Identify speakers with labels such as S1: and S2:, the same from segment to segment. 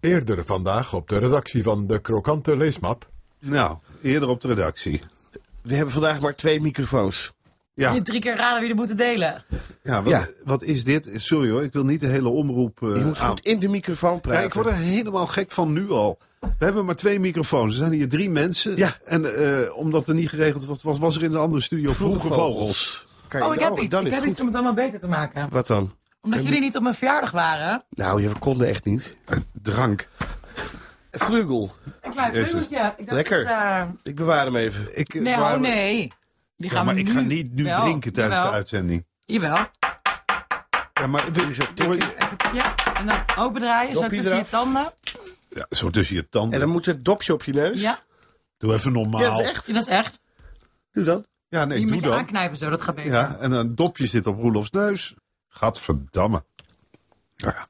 S1: Eerder vandaag op de redactie van de Krokante Leesmap.
S2: Nou, eerder op de redactie.
S3: We hebben vandaag maar twee microfoons.
S2: Ja,
S4: Je drie keer raden wie er moeten delen.
S2: ja, wat,
S3: Ja.
S2: wat is dit? Sorry hoor, ik wil niet de hele omroep eh,
S3: Je moet
S2: aan.
S3: goed in de microfoon
S2: Ja,
S3: praten.
S2: ik word er helemaal gek van nu al. We hebben maar twee microfoons. Er zijn hier drie mensen.
S3: Ja.
S2: En eh, omdat er niet geregeld was, was, was er in de andere studio vroege, vogels.
S3: Kan je-
S4: Oh, ik
S2: nou,
S4: heb iets.
S3: dan
S4: Ik
S3: is
S4: heb
S3: het
S4: iets
S3: goed.
S4: om het allemaal beter te maken.
S3: Wat dan?
S4: Omdat jullie niet op mijn verjaardag waren.
S3: Nou, je konden echt niet.
S2: Eh, Drank.
S3: Vlugel.
S4: Een klein
S2: Jezus.
S4: vleugeltje. Ik dacht
S3: Lekker.
S4: dat, eh,
S3: Ik bewaar hem even.
S2: Ik, eh,
S4: nee,
S2: waar-
S4: oh nee. Die gaan
S2: Ja, maar
S4: we
S2: ik
S4: nu
S2: ga niet nu
S4: wel.
S2: drinken tijdens de
S4: Jawel.
S2: uitzending.
S4: Jawel.
S2: Ja, maar wil je zo tikken?
S4: Even- ja. En dan open draaien, zo
S3: Dopje
S4: tussen
S3: eraf.
S4: je tanden.
S2: Ja, zo tussen je tanden.
S3: En dan moet het dopje op je neus.
S4: Ja,
S2: Doe even normaal.
S3: Ja, dat is echt.
S4: dat is echt.
S3: Doe dan.
S2: Ja, nee,
S4: Die
S2: doe
S4: moet je
S2: dan.
S4: aanknijpen zo, dat gaat beter.
S2: Ja, en een dopje zit op Roelofs neus. Gadverdamme. Nou ja.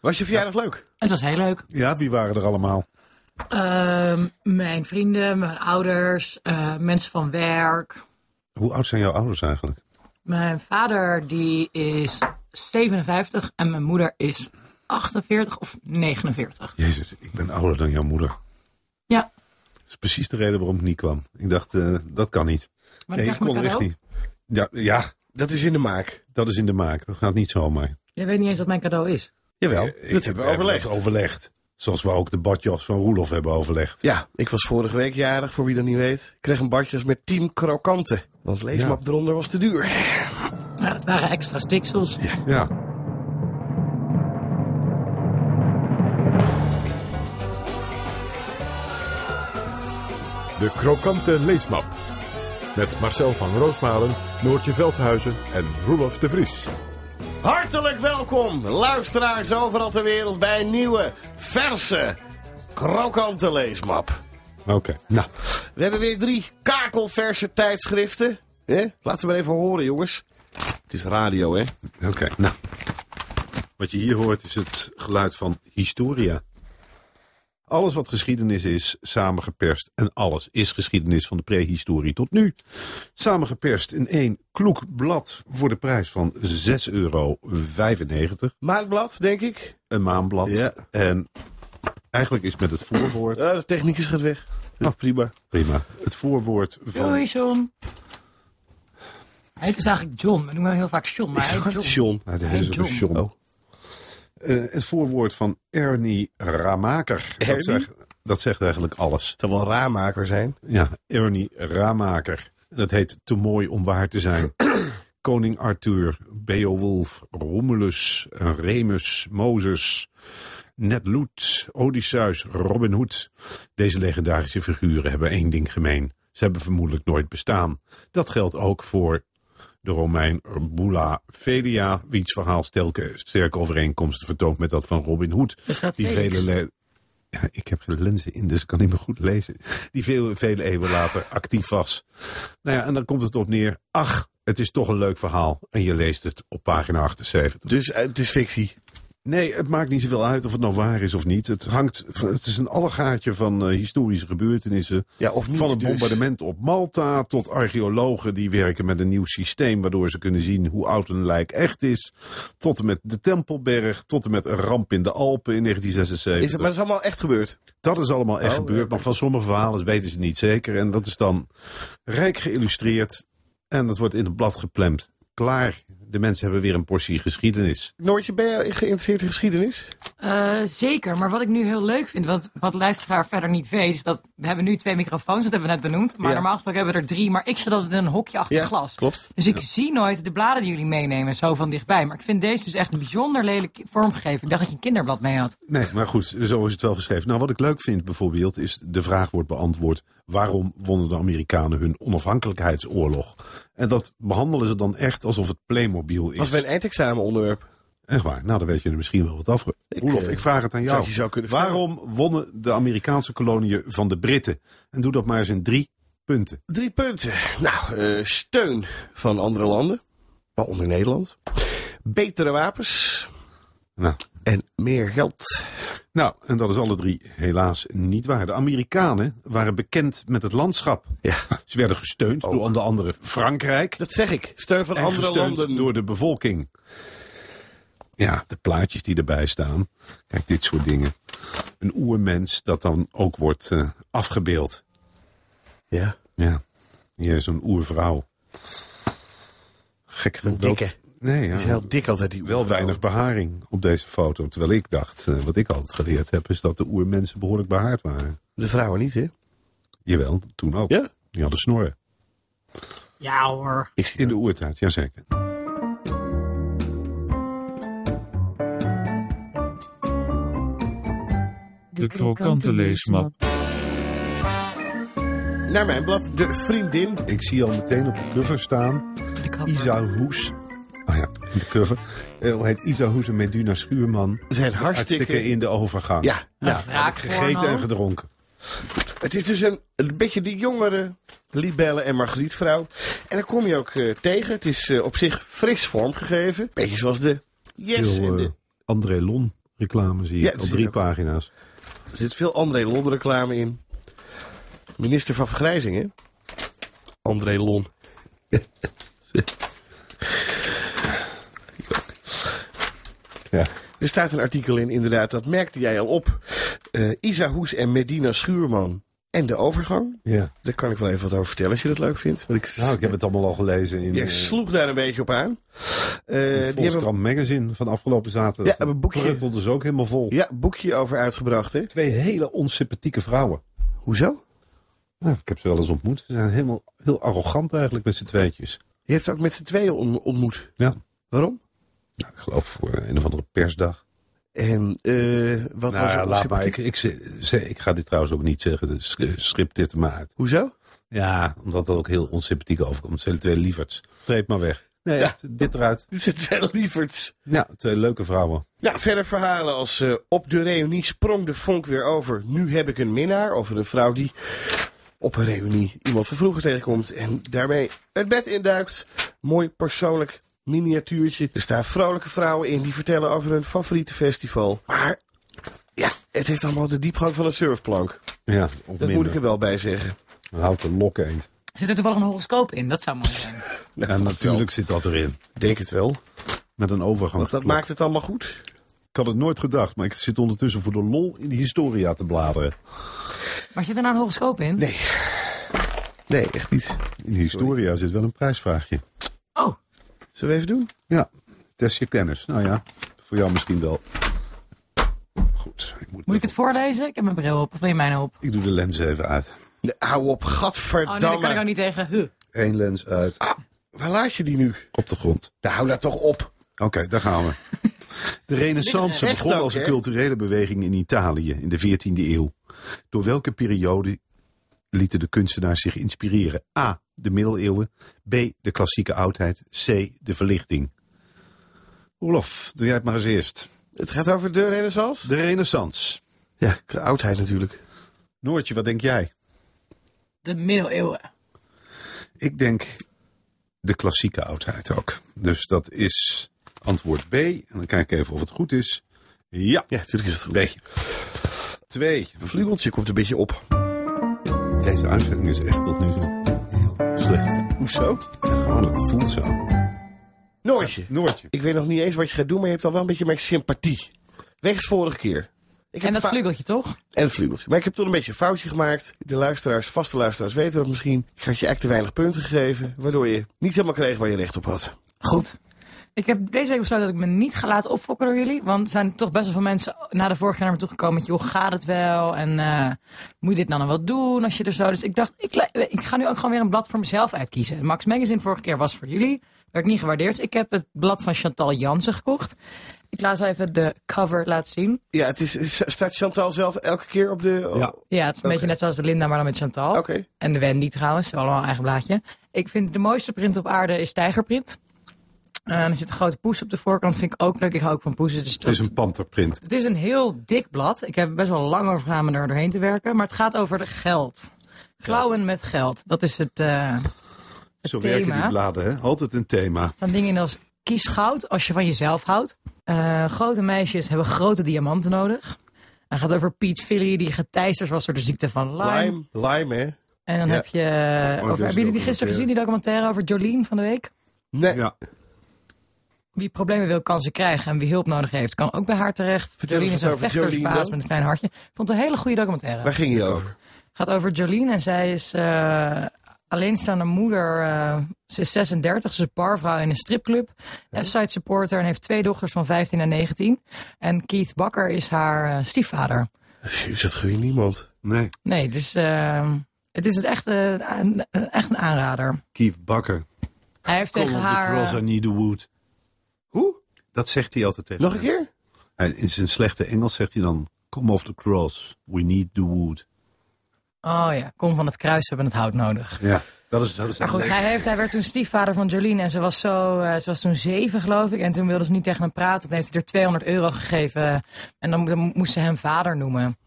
S3: Was je verjaardag leuk?
S4: Het was heel leuk.
S2: ja, wie waren er allemaal?
S4: Ehm, mijn vrienden, mijn ouders, eh, mensen van werk.
S2: Hoe oud zijn jouw ouders eigenlijk?
S4: Mijn vader die is 57 en mijn moeder is 48 of 49.
S2: Jezus, ik ben ouder dan jouw moeder.
S4: Ja,
S2: Dat is precies de reden waarom ik niet kwam. Ik dacht, eh, dat kan niet.
S4: maar
S2: Nee,
S4: dan
S2: ik
S4: krijg ik
S2: kon
S4: mijn
S2: echt
S4: cadeau.
S2: niet. Ja, ja,
S3: Dat is in de maak.
S2: dat is in de maak. Dat gaat niet zomaar. Eh,
S4: Jij weet niet eens wat mijn cadeau is.
S3: Jawel,
S2: Ik-
S3: Nou, dat hebben we overlegd.
S2: dat overlegd. Zoals we ook de badjas van Roelof hebben overlegd.
S3: Ja, ik was vorige week jarig, voor wie dat niet weet. Ik kreeg een badjas met team krokanten. Want leesmap eronder was te duur.
S4: Nou, dat waren extra stiksels.
S2: Ja.
S1: De Krokante Leesmap. Met Marcel van Roosmalen, Noortje Veldhuizen en Roelof de Vries.
S3: Hartelijk welkom, luisteraars overal ter wereld, bij een nieuwe, verse, krokante leesmap.
S2: Oké. Nou,
S3: We hebben weer drie kakelverse tijdschriften. Hè? Laten we maar even horen, jongens. Het is radio, hè?
S2: oké. Nou. Wat je hier hoort is het geluid van historia. Alles wat geschiedenis is, samengeperst. En alles is geschiedenis van de prehistorie tot nu. Samengeperst in één kloek blad voor de prijs van 6,95 euro.
S3: Maandblad, denk ik.
S2: Een maandblad.
S3: Ja.
S2: En eigenlijk is met het voorwoord...
S3: Eh, de technicus gaat weg.
S2: Oh.
S3: Nou, prima.
S2: Prima. Het voorwoord van...
S4: Doei, John. Hij heet dus eigenlijk John. We noemen hem heel vaak John, maar hij heet
S3: Het is
S4: John.
S3: John.
S2: Nou,
S4: Hey,
S2: het, is ook een
S4: John.
S2: John.
S3: Oh,
S2: Eh, het voorwoord van Ernie Ramaker.
S3: Ernie?
S2: Dat zegt, dat zegt eigenlijk alles.
S3: Het zal wel een raammaker zijn.
S2: Ja, Ernie Ramaker. En Dat heet Te mooi om waar te zijn. Koning Arthur, Beowulf, Romulus, Remus, Mozes, Ned Loet, Odysseus, Robin Hood. Deze legendarische figuren hebben één ding gemeen. Ze hebben vermoedelijk nooit bestaan. Dat geldt ook voor de Romein Bula Felia, wiens verhaal sterke, sterke overeenkomsten vertoont met dat van Robin Hood.
S4: Er staat
S2: die
S4: Felix.
S2: vele le- ja, ik heb geen lenzen in, dus ik kan niet meer goed lezen. Die vele, vele eeuwen later actief was. Nou ja, en dan komt het op neer. Ach, het is toch een leuk verhaal. En je leest het op pagina 78.
S3: Dus eh, het is fictie.
S2: Nee, het maakt niet zoveel uit of het nou waar is of niet. Het, hangt, het is een allegaatje van eh, historische gebeurtenissen.
S3: Ja, of niet
S2: Van het
S3: dus.
S2: bombardement op Malta tot archeologen die werken met een nieuw systeem waardoor ze kunnen zien hoe oud een lijk echt is. Tot en met de Tempelberg, tot en met een ramp in de Alpen in
S3: Is
S2: 1976.
S3: het, maar dat is allemaal echt gebeurd.
S2: Dat is allemaal echt
S3: Oh,
S2: gebeurd,
S3: oké.
S2: maar van sommige verhalen weten ze niet zeker. En dat is dan rijk geïllustreerd en dat wordt in het blad geplemd. Klaar, de mensen hebben weer een portie geschiedenis.
S3: Noortje, ben jij geïnteresseerd in geschiedenis?
S4: Eh, zeker, maar wat ik nu heel leuk vind, want wat de luisteraar verder niet weet, is dat we hebben nu twee microfoons, dat hebben we net benoemd. Maar
S3: Ja.
S4: normaal gesproken hebben we er drie, maar ik zit altijd in een hokje achter
S3: Ja,
S4: glas.
S3: klopt.
S4: Dus ik zie nooit de bladen die jullie meenemen, zo van dichtbij. Maar ik vind deze dus echt bijzonder lelijk vormgegeven. Ik dacht dat je een kinderblad mee had.
S2: Nee, maar goed, zo is het wel geschreven. Nou, wat ik leuk vind bijvoorbeeld is de vraag wordt beantwoord... waarom wonnen de Amerikanen hun onafhankelijkheidsoorlog? En dat behandelen ze dan echt alsof het Playmobil is.
S3: Was mijn eindexamen onderwerp.
S2: Echt waar, nou dan weet je er misschien wel wat af. Roelof,
S3: eh,
S2: ik vraag het aan jou.
S3: zou je zou kunnen vragen.
S2: waarom wonnen de Amerikaanse koloniën van de Britten? En doe dat maar eens in drie punten.
S3: Drie punten. Nou, eh, steun van andere landen, waaronder Nederland. Betere wapens
S2: Nou,
S3: en meer geld.
S2: nou, en dat is alle drie helaas niet waar. De Amerikanen waren bekend met het landschap.
S3: Ja,
S2: Ze werden gesteund
S3: Oh,
S2: door onder andere Frankrijk...
S3: dat zeg ik. Steun van
S2: en
S3: andere
S2: gesteund
S3: landen.
S2: door de bevolking. Ja, de plaatjes die erbij staan. Kijk, dit soort dingen. Een oermens dat dan ook wordt eh, afgebeeld.
S3: Ja.
S2: Ja, hier zo'n oervrouw. Gek
S3: Een
S2: wel-
S3: dikke.
S2: Nee, ja.
S3: Die is heel dik altijd, die
S2: Wel
S3: oervrouw.
S2: weinig beharing op deze foto. Terwijl ik dacht, eh, wat ik altijd geleerd heb, is dat de oermensen behoorlijk behaard waren.
S3: De vrouwen niet, hè?
S2: Jawel, toen ook.
S3: Ja.
S2: Die hadden snorren.
S4: Ja hoor.
S3: Ik zie
S2: In de oertijd, jazeker.
S5: De krokante leesmap.
S3: Naar mijn blad, de vriendin.
S2: Ik zie al meteen op de cover staan
S4: De cover.
S2: Isa Hoes. Oh ja, de cover. Eh, hoe heet Isa Hoes en Meduna Schuurman.
S3: Ze zijn hartstikke...
S2: Hartstikke in de overgang.
S3: Ja, nou,
S4: wraak
S2: Gegeten en gedronken.
S3: het is dus een, een beetje de jongere Libelle en Margrietvrouw. En dan kom je ook eh, tegen. Het is eh, op zich fris vormgegeven. Beetje zoals de Yes.
S2: Heel,
S3: en de-
S2: eh, André Lon reclame zie
S3: Ja,
S2: ik.
S3: dat
S2: al
S3: zit
S2: drie
S3: ook al.
S2: pagina's.
S3: er zit veel André Lon reclame in. Minister van Vergrijzing, hè? André Lon.
S2: Ja.
S3: Er staat een artikel in, inderdaad, dat merkte jij al op. Eh Isa Hoes en Medina Schuurman. En de overgang.
S2: ja.
S3: Daar kan ik wel even wat over vertellen als je dat leuk vindt. Want ik,
S2: Nou, ik heb het allemaal al gelezen in
S3: jij
S2: eh,
S3: sloeg daar een beetje op aan. Eh, die hebben
S2: Volkskrant Magazine van afgelopen zaterdag.
S3: Ja, een boekje.
S2: Pruttelt dus ook helemaal vol.
S3: ja, boekje over uitgebracht, hè?
S2: Twee hele onsympathieke vrouwen.
S3: Hoezo?
S2: Nou, ik heb ze wel eens ontmoet. Ze zijn helemaal heel arrogant eigenlijk met z'n tweetjes.
S3: Je hebt ze ook met z'n tweeën on- ontmoet.
S2: Ja.
S3: Waarom?
S2: Nou, ik geloof voor een of andere persdag.
S3: En eh, wat was
S2: Nou,
S3: er
S2: ja, laat maar.
S3: onsympathiek?
S2: Ik, ik, ze- ze- ik ga dit trouwens ook niet zeggen. Dus sch- schip dit er maar uit.
S3: Hoezo?
S2: Ja, omdat dat ook heel onsympathiek overkomt. Het zijn twee lieverds. Treed maar weg. Nee,
S3: Ja.
S2: echt, dit eruit.
S3: Dit zijn twee lieverds.
S2: Ja, twee leuke vrouwen.
S3: Ja, verder verhalen als eh, op de reunie sprong de vonk weer over. Nu heb ik een minnaar. Over een vrouw die op een reunie iemand van vroeger tegenkomt en daarmee het bed induikt. Mooi persoonlijk miniatuurtje. Er staan vrolijke vrouwen in die vertellen over hun favoriete festival. Maar ja, het heeft allemaal de diepgang van een surfplank.
S2: Ja, of
S3: Dat moet ik er wel bij zeggen.
S2: Houdt de lokken eend.
S4: Zit er toevallig een horoscoop in? Dat zou mooi zijn.
S3: Nou,
S2: En
S3: vast
S2: natuurlijk zit dat erin.
S3: wel. Denk het wel.
S2: Met een overgang.
S3: Want dat maakt het allemaal goed.
S2: Ik had het nooit gedacht, maar ik zit ondertussen voor de lol in de historia te bladeren.
S4: Maar zit er nou een horoscoop in?
S3: Nee. Nee, echt niet.
S2: In de historia zit wel een prijsvraagje.
S4: Oh,
S3: Zullen we even doen?
S2: Ja, test je kennis. Nou ja, voor jou misschien wel. Goed, ik, moet
S4: moet ik
S2: even-
S4: het voorlezen? Ik heb mijn bril op. Of wil je mijn op?
S2: ik doe de lens even uit.
S3: Nee, hou op,
S4: Oh
S3: gadverdamme.
S4: nee, daar kan ik ook niet tegen. Huh.
S2: Eén lens uit,
S3: Ah, Waar laat je die nu?
S2: op de grond.
S3: Nou, hou daar toch op.
S2: Oké, daar gaan we. De renaissance
S3: Echt
S2: begon
S3: ook,
S2: als een
S3: hè?
S2: culturele beweging in Italië in de 14e eeuw. Door welke periode lieten de kunstenaars zich inspireren? A. De middeleeuwen. B. De klassieke oudheid. C. De verlichting. Olof, doe jij het maar eens eerst.
S3: Het gaat over de renaissance?
S2: De renaissance.
S3: Ja, de oudheid natuurlijk.
S2: Noortje, wat denk jij?
S4: De middeleeuwen.
S2: Ik denk de klassieke oudheid ook. Dus dat is antwoord B. En dan kijk ik even of het goed is. Ja,
S3: Ja, natuurlijk is het goed.
S2: B. Twee.
S3: Vliegeltje komt een beetje op.
S2: Deze uitzending is echt tot nu toe heel slecht.
S3: Hoezo?
S2: Gewoon, het voelt zo.
S3: Noortje.
S2: Noortje.
S3: Ik weet nog niet eens wat je gaat doen, maar je hebt al wel een beetje mijn sympathie. Wegens vorige keer. Ik heb
S4: En dat
S3: fa-
S4: vliegeltje toch?
S3: En het vliegeltje. Maar ik heb toen een beetje een foutje gemaakt. De luisteraars, vaste luisteraars weten dat misschien. Ik had je eigenlijk te weinig punten gegeven. Waardoor je niet helemaal kreeg waar je recht op had.
S4: Goed. Ik heb deze week besloten dat ik me niet ga laten opfokken door jullie. Want er zijn toch best wel veel mensen na de vorige keer naar me toegekomen met... joh, gaat het wel? En eh, moet je dit nou dan wel doen als je er zo... Dus ik dacht, ik, le- ik ga nu ook gewoon weer een blad voor mezelf uitkiezen. Max Magazine vorige keer was voor jullie. Werd niet gewaardeerd. Ik heb het blad van Chantal Jansen gekocht. Ik laat zo even de cover laten zien.
S3: Ja, het is, is- staat Chantal zelf elke keer op de...
S2: Ja.
S4: Ja, het is een beetje net zoals de Linda, maar dan met Chantal.
S3: Oké.
S4: En de Wendy trouwens, allemaal een eigen blaadje. Ik vind de mooiste print op aarde is tijgerprint. Eh, er zit een grote poes op de voorkant, vind ik ook leuk. Ik hou ook van poezen. Dus
S2: Het is een panterprint.
S4: het is een heel dik blad. Ik heb er best wel lang over gedaan om er doorheen te werken. Maar het gaat over de geld. Klauwen met geld. Dat is het... eh
S2: Zo
S4: thema.
S2: werken die bladen, hè? Altijd een thema.
S4: dan dingen in als kies goud als je van jezelf houdt. Eh, grote meisjes hebben grote diamanten nodig. Hij gaat over Piet Philly, die geteisterd was door de ziekte van Lyme.
S3: Lime. Lime, hè?
S4: En dan
S3: Ja. Oh,
S4: heb je.
S2: deze
S4: over, hebben jullie die
S2: documentaire.
S4: gisteren gezien, die documentaire over Jolien van de week?
S3: Nee.
S2: Ja.
S4: wie problemen wil, kan ze krijgen. En wie hulp nodig heeft, kan ook bij haar terecht.
S3: Vertel
S4: Jolien
S3: eens
S4: is
S3: wat
S4: een
S3: over Jolien
S4: vechtersbaas
S3: dan.
S4: met een klein hartje. Vond het een hele goede documentaire.
S3: Waar ging je over?
S4: gaat over Jolene en zij is eh, alleenstaande moeder. eh, ze is 36, ze is barvrouw in een stripclub. F-side supporter en heeft twee dochters van 15 en 19. En Keith Bakker is haar eh, stiefvader.
S3: Is dat gewoon niemand?
S2: Nee,
S4: Nee, dus eh, het is het echt, eh, een, een- echt een aanrader.
S2: Keith Bakker.
S4: Hij heeft
S2: Call
S4: tegen
S2: of
S4: haar...
S2: the cross, I
S4: eh,
S2: need the wood.
S3: Hoe?
S2: Dat zegt hij altijd tegen
S3: Nog een
S2: mij.
S3: keer?
S2: Hij- In zijn slechte Engels zegt hij dan... Come off the cross, we need the wood.
S4: oh ja, kom van het kruis, we hebben het hout nodig.
S2: Ja, dat is... Dat is
S4: Maar Ah, goed, hij, heeft, hij werd toen stiefvader van Jolien en ze was, zo, eh, ze was toen zeven, geloof ik. En toen wilde ze niet tegen hem praten. Toen heeft hij er 200 euro gegeven. En dan, dan moest ze hem vader noemen.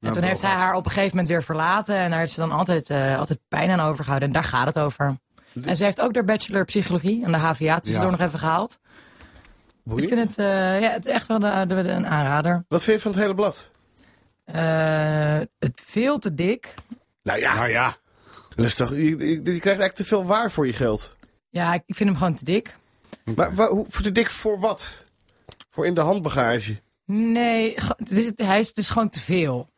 S4: En toen heeft hij haar op een gegeven moment weer verlaten. En daar heeft ze dan altijd, eh, altijd pijn aan overgehouden. En daar gaat het over. En ze heeft ook haar bachelor psychologie aan de HVA tussendoor nog even gehaald. Ik vind het, eh, ja, het is echt wel de- de- de- een aanrader.
S3: Wat vind je van het hele blad?
S4: Eh, het veel te dik.
S3: Nou ja. Nou ja. Dat is toch, je, je- je krijgt eigenlijk te veel waar voor je geld.
S4: Ja, ik ik vind hem gewoon te dik.
S3: Maar wa- hoe, voor te dik voor wat? Voor in de handbagage.
S4: Nee, ge- het is, hij is, het is gewoon te veel.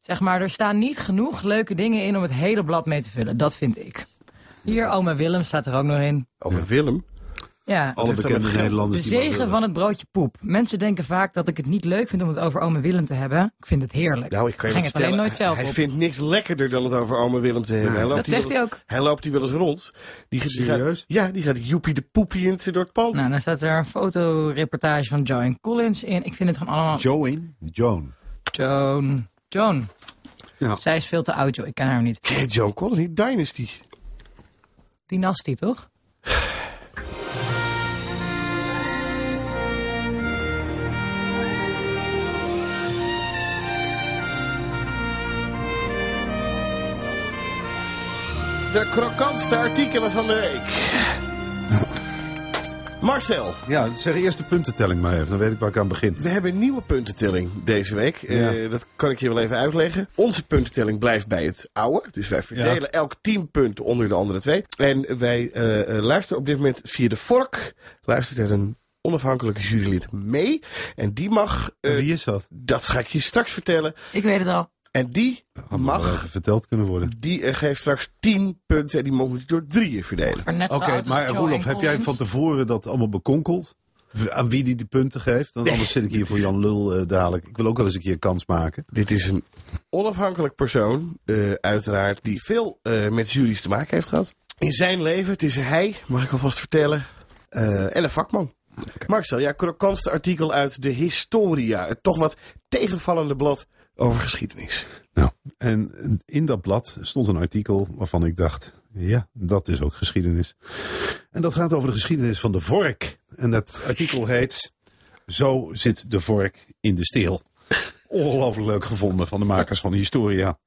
S4: Zeg maar, er staan niet genoeg leuke dingen in om het hele blad mee te vullen. Dat vind ik. Hier, oma Willem staat er ook nog in.
S3: Oh, maar Willem.
S4: Ja.
S2: Alle
S3: heeft dat met
S2: bekende
S3: geld?
S4: De
S2: Nederlanders... die
S4: zegen
S2: worden-
S4: van het broodje poep. Mensen denken vaak dat ik het niet leuk vind om het over oma Willem te hebben. Ik vind het heerlijk.
S3: Nou, ik kan je
S4: Ging
S3: wat
S4: het
S3: vertellen.
S4: alleen nooit zelf
S3: Hij
S4: op.
S3: vindt niks lekkerder dan het over Ome Willem te hebben. Hij loopt
S4: Dat
S3: hier
S4: zegt
S3: wel-
S4: hij ook.
S3: Hij loopt hier wel eens rond. Die, die
S2: Serieus?
S3: Gaat, ja, die gaat joepie de poepie in het- door het pand.
S4: Nou, dan staat er een fotoreportage van Joan Collins in. Ik vind het gewoon allemaal...
S2: Joan? Joan.
S4: Joan. Joan.
S2: Ja.
S4: Zij is veel te oud, joh. Ik ken haar niet.
S3: Ken je John Collins niet? Dynasty.
S4: Dynastie, toch?
S3: De krokantste artikelen van de week. Marcel,
S2: Ja, zeg eerst de puntentelling maar even. Dan weet ik waar ik aan begin.
S3: we hebben een nieuwe puntentelling deze week. Eh, dat kan ik je wel even uitleggen. Onze puntentelling blijft bij het oude. Dus wij verdelen elk 10 punten onder de andere twee. En wij eh, eh, luisteren op dit moment via de vork. Luistert er een onafhankelijke jurylid mee. En die mag, eh,
S2: Wie is dat?
S3: dat ga ik je straks vertellen.
S4: Ik weet het al.
S3: En die
S2: Had me wel
S3: mag,
S2: even verteld kunnen worden.
S3: die eh, geeft straks 10 punten. En die mogen we door drieën verdelen.
S4: Maar net zo
S2: Oké,
S4: oud als
S2: maar
S4: Joan
S2: Roelof, heb jij
S4: Collins.
S2: van tevoren dat allemaal bekonkeld? W- Aan wie die de punten geeft? Want anders zit ik hier voor Jan Lul eh, dadelijk. Ik wil ook wel eens een keer kans maken.
S3: Dit is een onafhankelijk persoon, eh, uiteraard, die veel eh, met juries te maken heeft gehad. In zijn leven, het is hij, mag ik alvast vertellen, eh, en een vakman. Marcel, ja, krokantste artikel uit de Historia. Het toch wat tegenvallende blad over geschiedenis.
S2: Nou, en in dat blad stond een artikel waarvan ik dacht: ja, dat is ook geschiedenis. En dat gaat over de geschiedenis van de vork. En dat artikel heet: Zo zit de vork in de steel. Ongelooflijk leuk gevonden van de makers van Historia.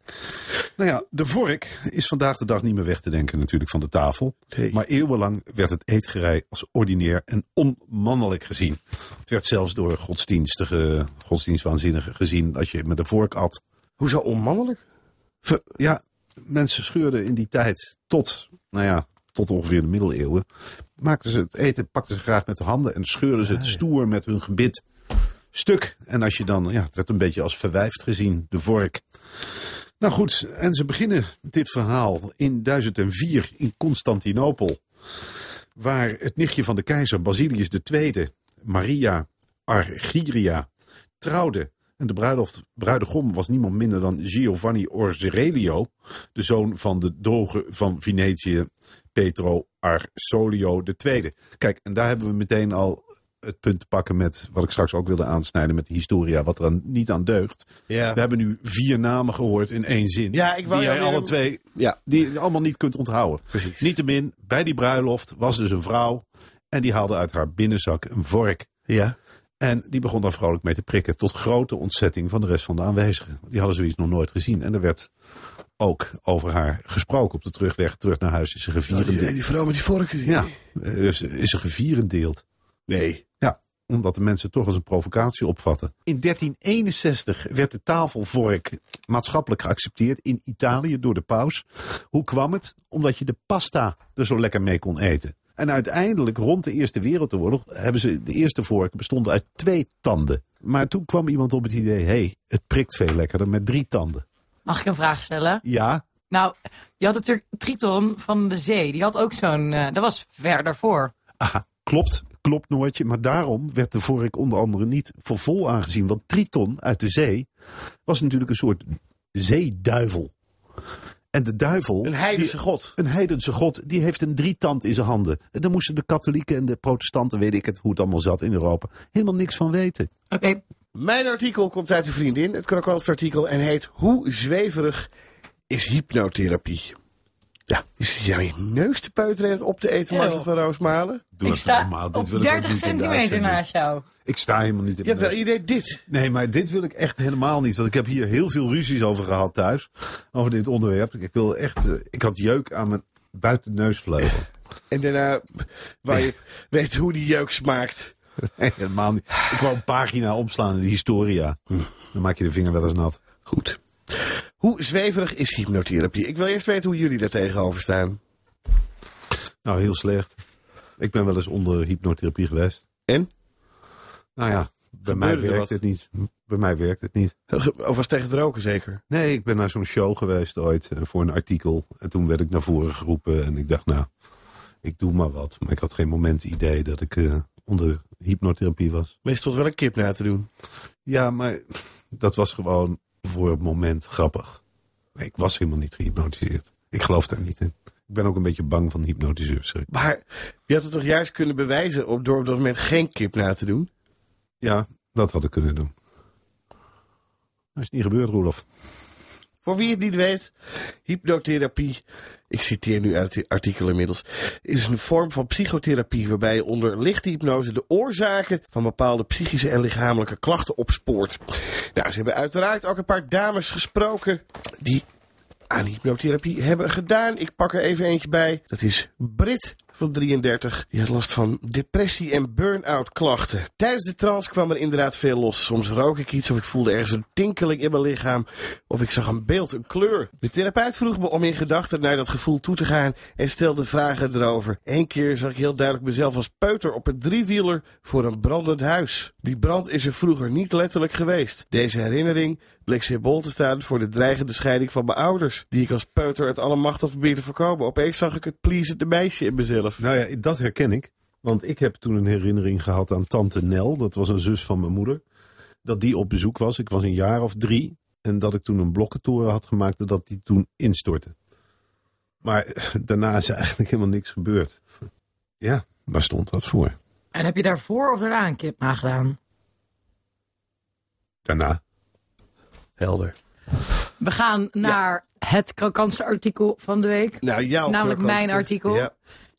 S2: Nou ja, de vork is vandaag de dag niet meer weg te denken natuurlijk van de tafel.
S3: Nee.
S2: Maar eeuwenlang werd het eetgerij als ordinair en onmannelijk gezien. Het werd zelfs door godsdienstige, godsdienstwaanzinnigen gezien dat je met de vork at.
S3: Hoezo onmannelijk? V-
S2: Ja, mensen scheurden in die tijd tot, nou ja, tot ongeveer de middeleeuwen. Maakten ze het eten, pakten ze graag met de handen en scheurden ze het stoer met hun gebit stuk. En als je dan, ja, het werd een beetje als verwijfd gezien, de vork. Nou goed, en ze beginnen dit verhaal in 1004 in Constantinopel. Waar het nichtje van de keizer Basilius II, Maria Argyria, trouwde. En de bruiloft, bruidegom was niemand minder dan Giovanni Orgerelio, de zoon van de doge van Venetië, Petro Arsolio II. Kijk, en daar hebben we meteen al het punt te pakken met wat ik straks ook wilde aansnijden met de historia, wat er aan- niet aan deugt.
S3: Ja.
S2: We hebben nu vier namen gehoord in één zin.
S3: Ja, ik wou
S2: die jij
S3: jou weer
S2: alle
S3: een-
S2: twee,
S3: Ja.
S2: die je allemaal niet kunt onthouden.
S3: Precies.
S2: Niettemin, bij die bruiloft was dus een vrouw en die haalde uit haar binnenzak een vork.
S3: Ja.
S2: En die begon daar vrolijk mee te prikken. Tot grote ontzetting van de rest van de aanwezigen. Die hadden zoiets nog nooit gezien. En er werd ook over haar gesproken. Op de terugweg terug naar huis is ze
S3: Die,
S2: gevierendeeld.
S3: die vrouw met die vork.
S2: Ja, eh, is is ze gevierendeeld.
S3: Nee.
S2: Ja, omdat de mensen het toch als een provocatie opvatten. In 1361 werd de tafelvork maatschappelijk geaccepteerd in Italië door de paus. Hoe kwam het? Omdat je de pasta er zo lekker mee kon eten. En uiteindelijk, rond de Eerste Wereldoorlog, hebben ze de eerste vork bestond uit twee tanden. Maar toen kwam iemand op het idee, hé, hey, het prikt veel lekkerder met drie tanden.
S4: Mag ik een vraag stellen?
S2: Ja,
S4: Nou, je had natuurlijk Triton van de Zee. Die had ook zo'n. eh, dat was ver daarvoor.
S2: aha, klopt, klopt Noortje. Maar daarom werd de vork onder andere niet voor vol aangezien. Want Triton uit de zee was natuurlijk een soort zeeduivel. En de duivel...
S3: Een heidense god.
S2: Een heidense god, die heeft een drietand in zijn handen. En daar moesten de katholieken en de protestanten, weet ik het, hoe het allemaal zat in Europa, helemaal niks van weten.
S4: Oké,
S3: Mijn artikel komt uit de vriendin, het krokantsartikel, en heet Hoe zweverig is hypnotherapie? Ja, is jij je neus te peuteren en het op te eten,
S4: Eeuw.
S3: Marcel van Roosmalen?
S2: Doe
S4: ik
S2: even
S4: sta
S2: normaal, dit
S4: op
S2: wil ik ook
S4: 30
S2: niet in de
S4: centimeter
S2: uitzending.
S4: naast jou.
S2: Ik sta helemaal niet in de
S3: Jawel,
S2: neus.
S3: je deed dit.
S2: Nee, maar dit wil ik echt helemaal niet. Want ik heb hier heel veel ruzies over gehad thuis. Over dit onderwerp. Ik wil echt. eh, ik had jeuk aan mijn buitenneusvleugel.
S3: En daarna, waar je weet hoe die jeuk smaakt.
S2: Nee, helemaal niet. Ik wou een pagina omslaan in de historia. Dan maak je de vinger wel eens nat.
S3: Goed. Hoe zweverig is hypnotherapie? Ik wil eerst weten hoe jullie daar tegenover staan.
S2: Nou, heel slecht. Ik ben wel eens onder hypnotherapie geweest.
S3: En?
S2: Nou ja, bij
S3: Gebeurde
S2: mij
S3: er
S2: werkt
S3: wat?
S2: het niet. Bij mij werkt het niet.
S3: Of was tegen het roken zeker?
S2: Nee, ik ben naar zo'n show geweest ooit eh, voor een artikel. En toen werd ik naar voren geroepen en ik dacht, nou, ik doe maar wat. Maar ik had geen moment idee dat ik eh, onder hypnotherapie was.
S3: Meestal wel een kip na te doen.
S2: Ja, maar dat was gewoon voor het moment grappig. Nee, ik was helemaal niet gehypnotiseerd. Ik geloof daar niet in. Ik ben ook een beetje bang van hypnotiseurs. zeg ik.
S3: Maar je had het toch juist kunnen bewijzen op, door op dat moment geen kip na te doen?
S2: Ja, dat had ik kunnen doen. Dat is niet gebeurd, Roelof.
S3: Voor wie het niet weet, hypnotherapie, ik citeer nu uit het artikel inmiddels, is een vorm van psychotherapie waarbij je onder lichte hypnose de oorzaken van bepaalde psychische en lichamelijke klachten opspoort. Nou, ze hebben uiteraard ook een paar dames gesproken die aan hypnotherapie hebben gedaan. Ik pak er even eentje bij. Dat is Brit van 33. Die had last van depressie en burn-out klachten. Tijdens de trance kwam er inderdaad veel los. Soms rook ik iets of ik voelde ergens een tinkeling in mijn lichaam. Of ik zag een beeld, een kleur. De therapeut vroeg me om in gedachten naar dat gevoel toe te gaan en stelde vragen erover. Eén keer zag ik heel duidelijk mezelf als peuter op een driewieler voor een brandend huis. Die brand is er vroeger niet letterlijk geweest. Deze herinnering bleek symbool te staan voor de dreigende scheiding van mijn ouders, die ik als peuter het allemachtig probeerde te voorkomen. Opeens zag ik het pleasende meisje in mezelf.
S2: Nou ja, dat herken ik. Want ik heb toen een herinnering gehad aan tante Nel. Dat was een zus van mijn moeder. Dat die op bezoek was. Ik was een jaar of drie. En dat ik toen een blokkentoren had gemaakt. En dat die toen instortte. Maar eh, daarna is eigenlijk helemaal niks gebeurd. Ja, waar stond dat voor?
S4: En heb je daarvoor of daarna een kip nagedaan?
S2: Daarna.
S3: Helder.
S4: We gaan naar het krokantste artikel van de week.
S3: Nou, jouw
S4: Namelijk
S3: krokantste-
S4: mijn artikel.
S3: Ja.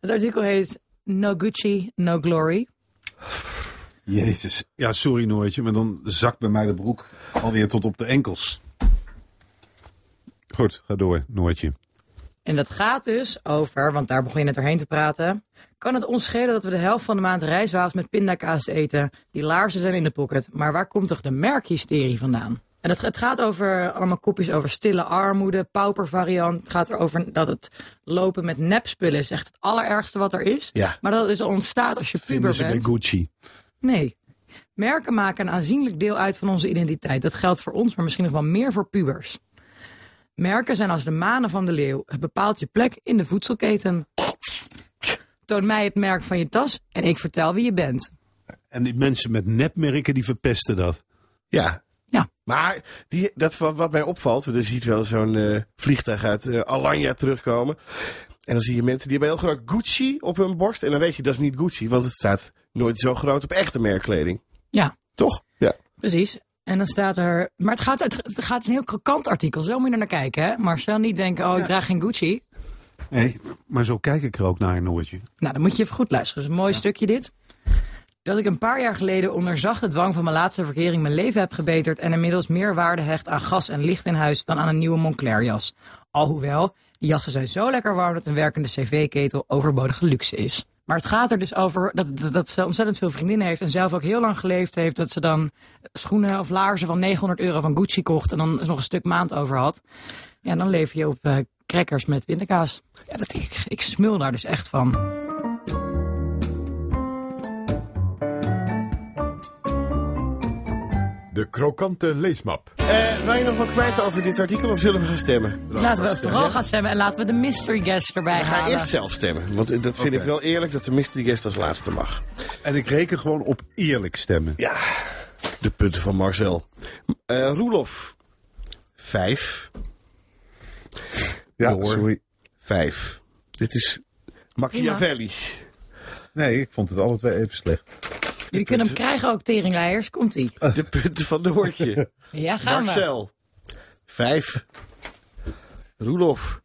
S4: Het artikel heet No Gucci, No Glory.
S2: Jezus. Ja, sorry Noortje, maar dan zakt bij mij de broek alweer tot op de enkels. Goed, ga door, Noortje.
S4: En dat gaat dus over, want daar begon je net doorheen te praten. Kan het ons schelen dat we de helft van de maand rijstwaals met pindakaas eten? Die laarzen zijn in de pocket. Maar waar komt toch de merkhysterie vandaan? En het, het gaat over allemaal kopjes over stille armoede, paupervariant. Het gaat erover dat het lopen met nepspullen is echt het allerergste wat er is.
S3: Ja.
S4: Maar dat is ontstaat als je puber
S2: Vinden ze bij
S4: bent.
S2: Gucci.
S4: Nee. Merken maken een aanzienlijk deel uit van onze identiteit. Dat geldt voor ons, maar misschien nog wel meer voor pubers. Merken zijn als de manen van de leeuw. Het bepaalt je plek in de voedselketen. Toon mij het merk van je tas en ik vertel wie je bent.
S2: En die mensen met nepmerken die verpesten dat.
S3: Ja.
S4: Ja.
S3: Maar die, dat wat, wat mij opvalt, want je ziet wel zo'n eh, vliegtuig uit eh, Alanya terugkomen. En dan zie je mensen die hebben heel groot Gucci op hun borst. En dan weet je, dat is niet Gucci, want het staat nooit zo groot op echte merkkleding.
S4: Ja,
S3: Toch? Ja.
S4: precies. En dan staat er. Maar het gaat, het, het gaat het is een heel krokant artikel. Zo moet je er naar kijken, hè? Marcel, niet denken: oh, ik draag geen Gucci.
S2: Nee, maar zo kijk ik er ook naar, Noortje.
S4: Nou, dan moet je even goed luisteren. Dat is een mooi stukje dit. Dat ik een paar jaar geleden onder zachte dwang van mijn laatste verkering mijn leven heb gebeterd en inmiddels meer waarde hecht aan gas en licht in huis dan aan een nieuwe Moncler jas. Alhoewel, die jassen zijn zo lekker warm dat een werkende cv-ketel overbodige luxe is. Maar het gaat er dus over dat, dat, dat ze ontzettend veel vriendinnen heeft en zelf ook heel lang geleefd heeft dat ze dan schoenen of laarzen van 900 euro van Gucci kocht en dan nog een stuk maand over had. Ja, en dan leef je op eh crackers met pindakaas. Ja, dat, ik, ik smul daar dus echt van.
S1: De krokante leesmap.
S3: Eh, wil je nog wat kwijt over dit artikel of zullen we gaan stemmen?
S4: Laten we vooral gaan stemmen en laten we de mystery guest erbij
S3: Ik ga
S4: halen.
S3: eerst zelf stemmen, want eh, dat vind
S2: Oké.
S3: ik wel eerlijk dat de mystery guest als laatste mag.
S2: En ik reken gewoon op eerlijk stemmen.
S3: Ja, de punten van Marcel. Eh Roelof, vijf.
S2: Ja,
S3: Door.
S2: sorry.
S3: Vijf. Dit is Machiavelli.
S2: Nee, ik vond het alle twee even slecht.
S4: Jullie kunnen hem krijgen ook, teringleiers. Komt-ie.
S3: De punten van Noortje.
S4: Ja, gaan we.
S3: Marcel, vijf. Roelof,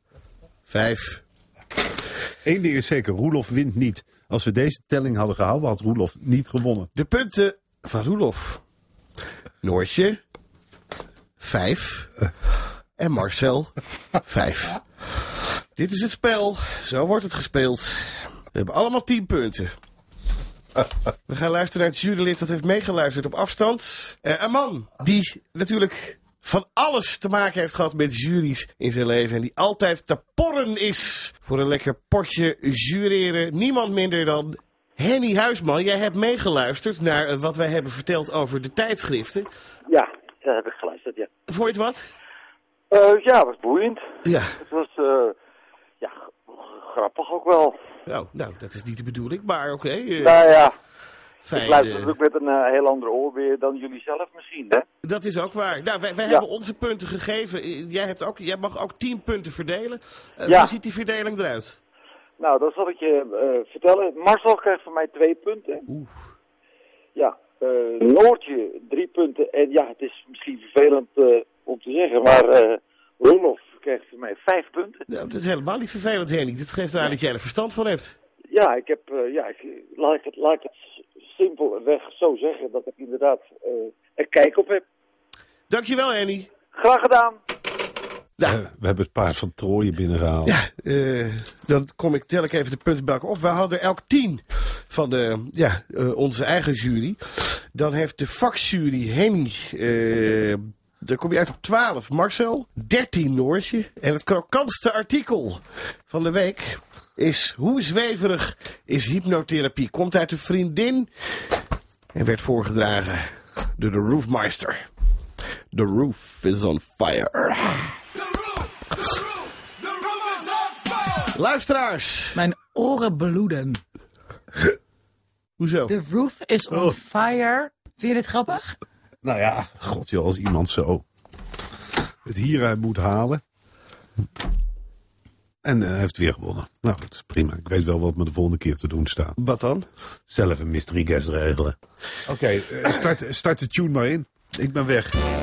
S3: vijf.
S2: Eén ding is zeker, Roelof wint niet. Als we deze telling hadden gehouden, had Roelof niet gewonnen.
S3: De punten van Roelof. Noortje, vijf. En Marcel, vijf. Dit is het spel. Zo wordt het gespeeld. We hebben allemaal tien punten. We gaan luisteren naar het jurylid dat heeft meegeluisterd op afstand. Eh, een man die natuurlijk van alles te maken heeft gehad met juries in zijn leven. En die altijd te porren is voor een lekker potje jureren. Niemand minder dan Henny Huisman. Jij hebt meegeluisterd naar eh, wat wij hebben verteld over de tijdschriften.
S6: Ja, daar heb ik geluisterd, ja.
S3: Vond je het wat?
S6: Eh, ja, het was boeiend.
S3: Ja.
S6: Het was, eh, ja, g- grappig ook wel.
S3: Nou, nou, dat is niet de bedoeling, maar oké. eh,
S6: Nou ja, ik
S3: fijn,
S6: luister
S3: eh,
S6: natuurlijk met een eh, heel ander oorbeer dan jullie zelf misschien, hè?
S3: dat is ook waar. Nou, wij, wij
S6: Ja.
S3: hebben onze punten gegeven. Eh, Jij, hebt ook, jij mag ook tien punten verdelen. Eh,
S6: Ja.
S3: Hoe ziet die verdeling eruit?
S6: Nou, dat zal ik je eh, vertellen. Marcel krijgt van mij twee punten.
S3: Oeh.
S6: Ja, eh, Noortje drie punten. En ja, het is misschien vervelend eh, om te zeggen, maar eh Roelof krijgt van mij vijf punten.
S3: Nou, dat is helemaal niet vervelend, Henny. Dat geeft aan dat jij er verstand van hebt.
S6: Ja, ik heb, eh, ja, ik, laat, ik het, laat ik het simpelweg zo zeggen dat ik inderdaad eh er kijk op heb.
S3: Dankjewel, Henny.
S6: Graag gedaan.
S3: Ja.
S2: Eh, we hebben het paard van Troje binnengehaald.
S3: Ja, eh, dan kom ik, tel ik even de punten bij elkaar op. We hadden elk tien van de, ja, eh, onze eigen jury. Dan heeft de vakjury Henny, eh, daar kom je uit op 12, Marcel, 13 Noortje. En het krokantste artikel van de week is hoe zweverig is hypnotherapie? Komt uit een vriendin en werd voorgedragen door de roofmeister. The roof is on fire. Luisteraars!
S4: Mijn oren bloeden.
S3: Hoezo?
S4: The roof is on
S3: Oh.
S4: fire. Vind je dit grappig?
S2: Nou ja, god joh, als iemand zo het hieruit moet halen. En eh, hij heeft weer gewonnen. Nou goed, prima. Ik weet wel wat me de volgende keer te doen staat.
S3: Wat dan?
S2: Zelf een mystery guest regelen. Oké, eh, start, start de tune maar in. Ik ben weg. Oh,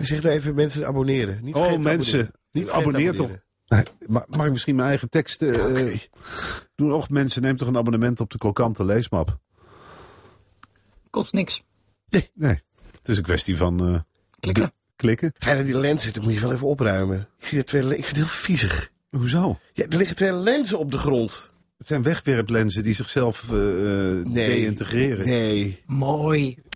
S3: Zeg nou even mensen abonneren. Niet
S2: Oh
S3: vergeten te
S2: mensen,
S3: abonneren.
S2: niet
S3: vergeten
S2: abonneer toch.
S3: abonneren.
S2: Nee, ma- Mag ik misschien mijn eigen teksten eh, doen? Och mensen, neem toch een abonnement op de krokante leesmap.
S4: Kost niks.
S2: Nee, het is een kwestie van eh,
S4: Klikken.
S2: klikken.
S3: Ga je naar die lenzen, dan moet je wel even opruimen. Ik, zie er twee, le- ik vind het heel viezig.
S2: Hoezo?
S3: Ja, er liggen twee lenzen op de grond.
S2: Het zijn wegwerplenzen die zichzelf eh eh,
S3: Nee.
S2: deïntegreren.
S3: Nee.
S4: Mooi.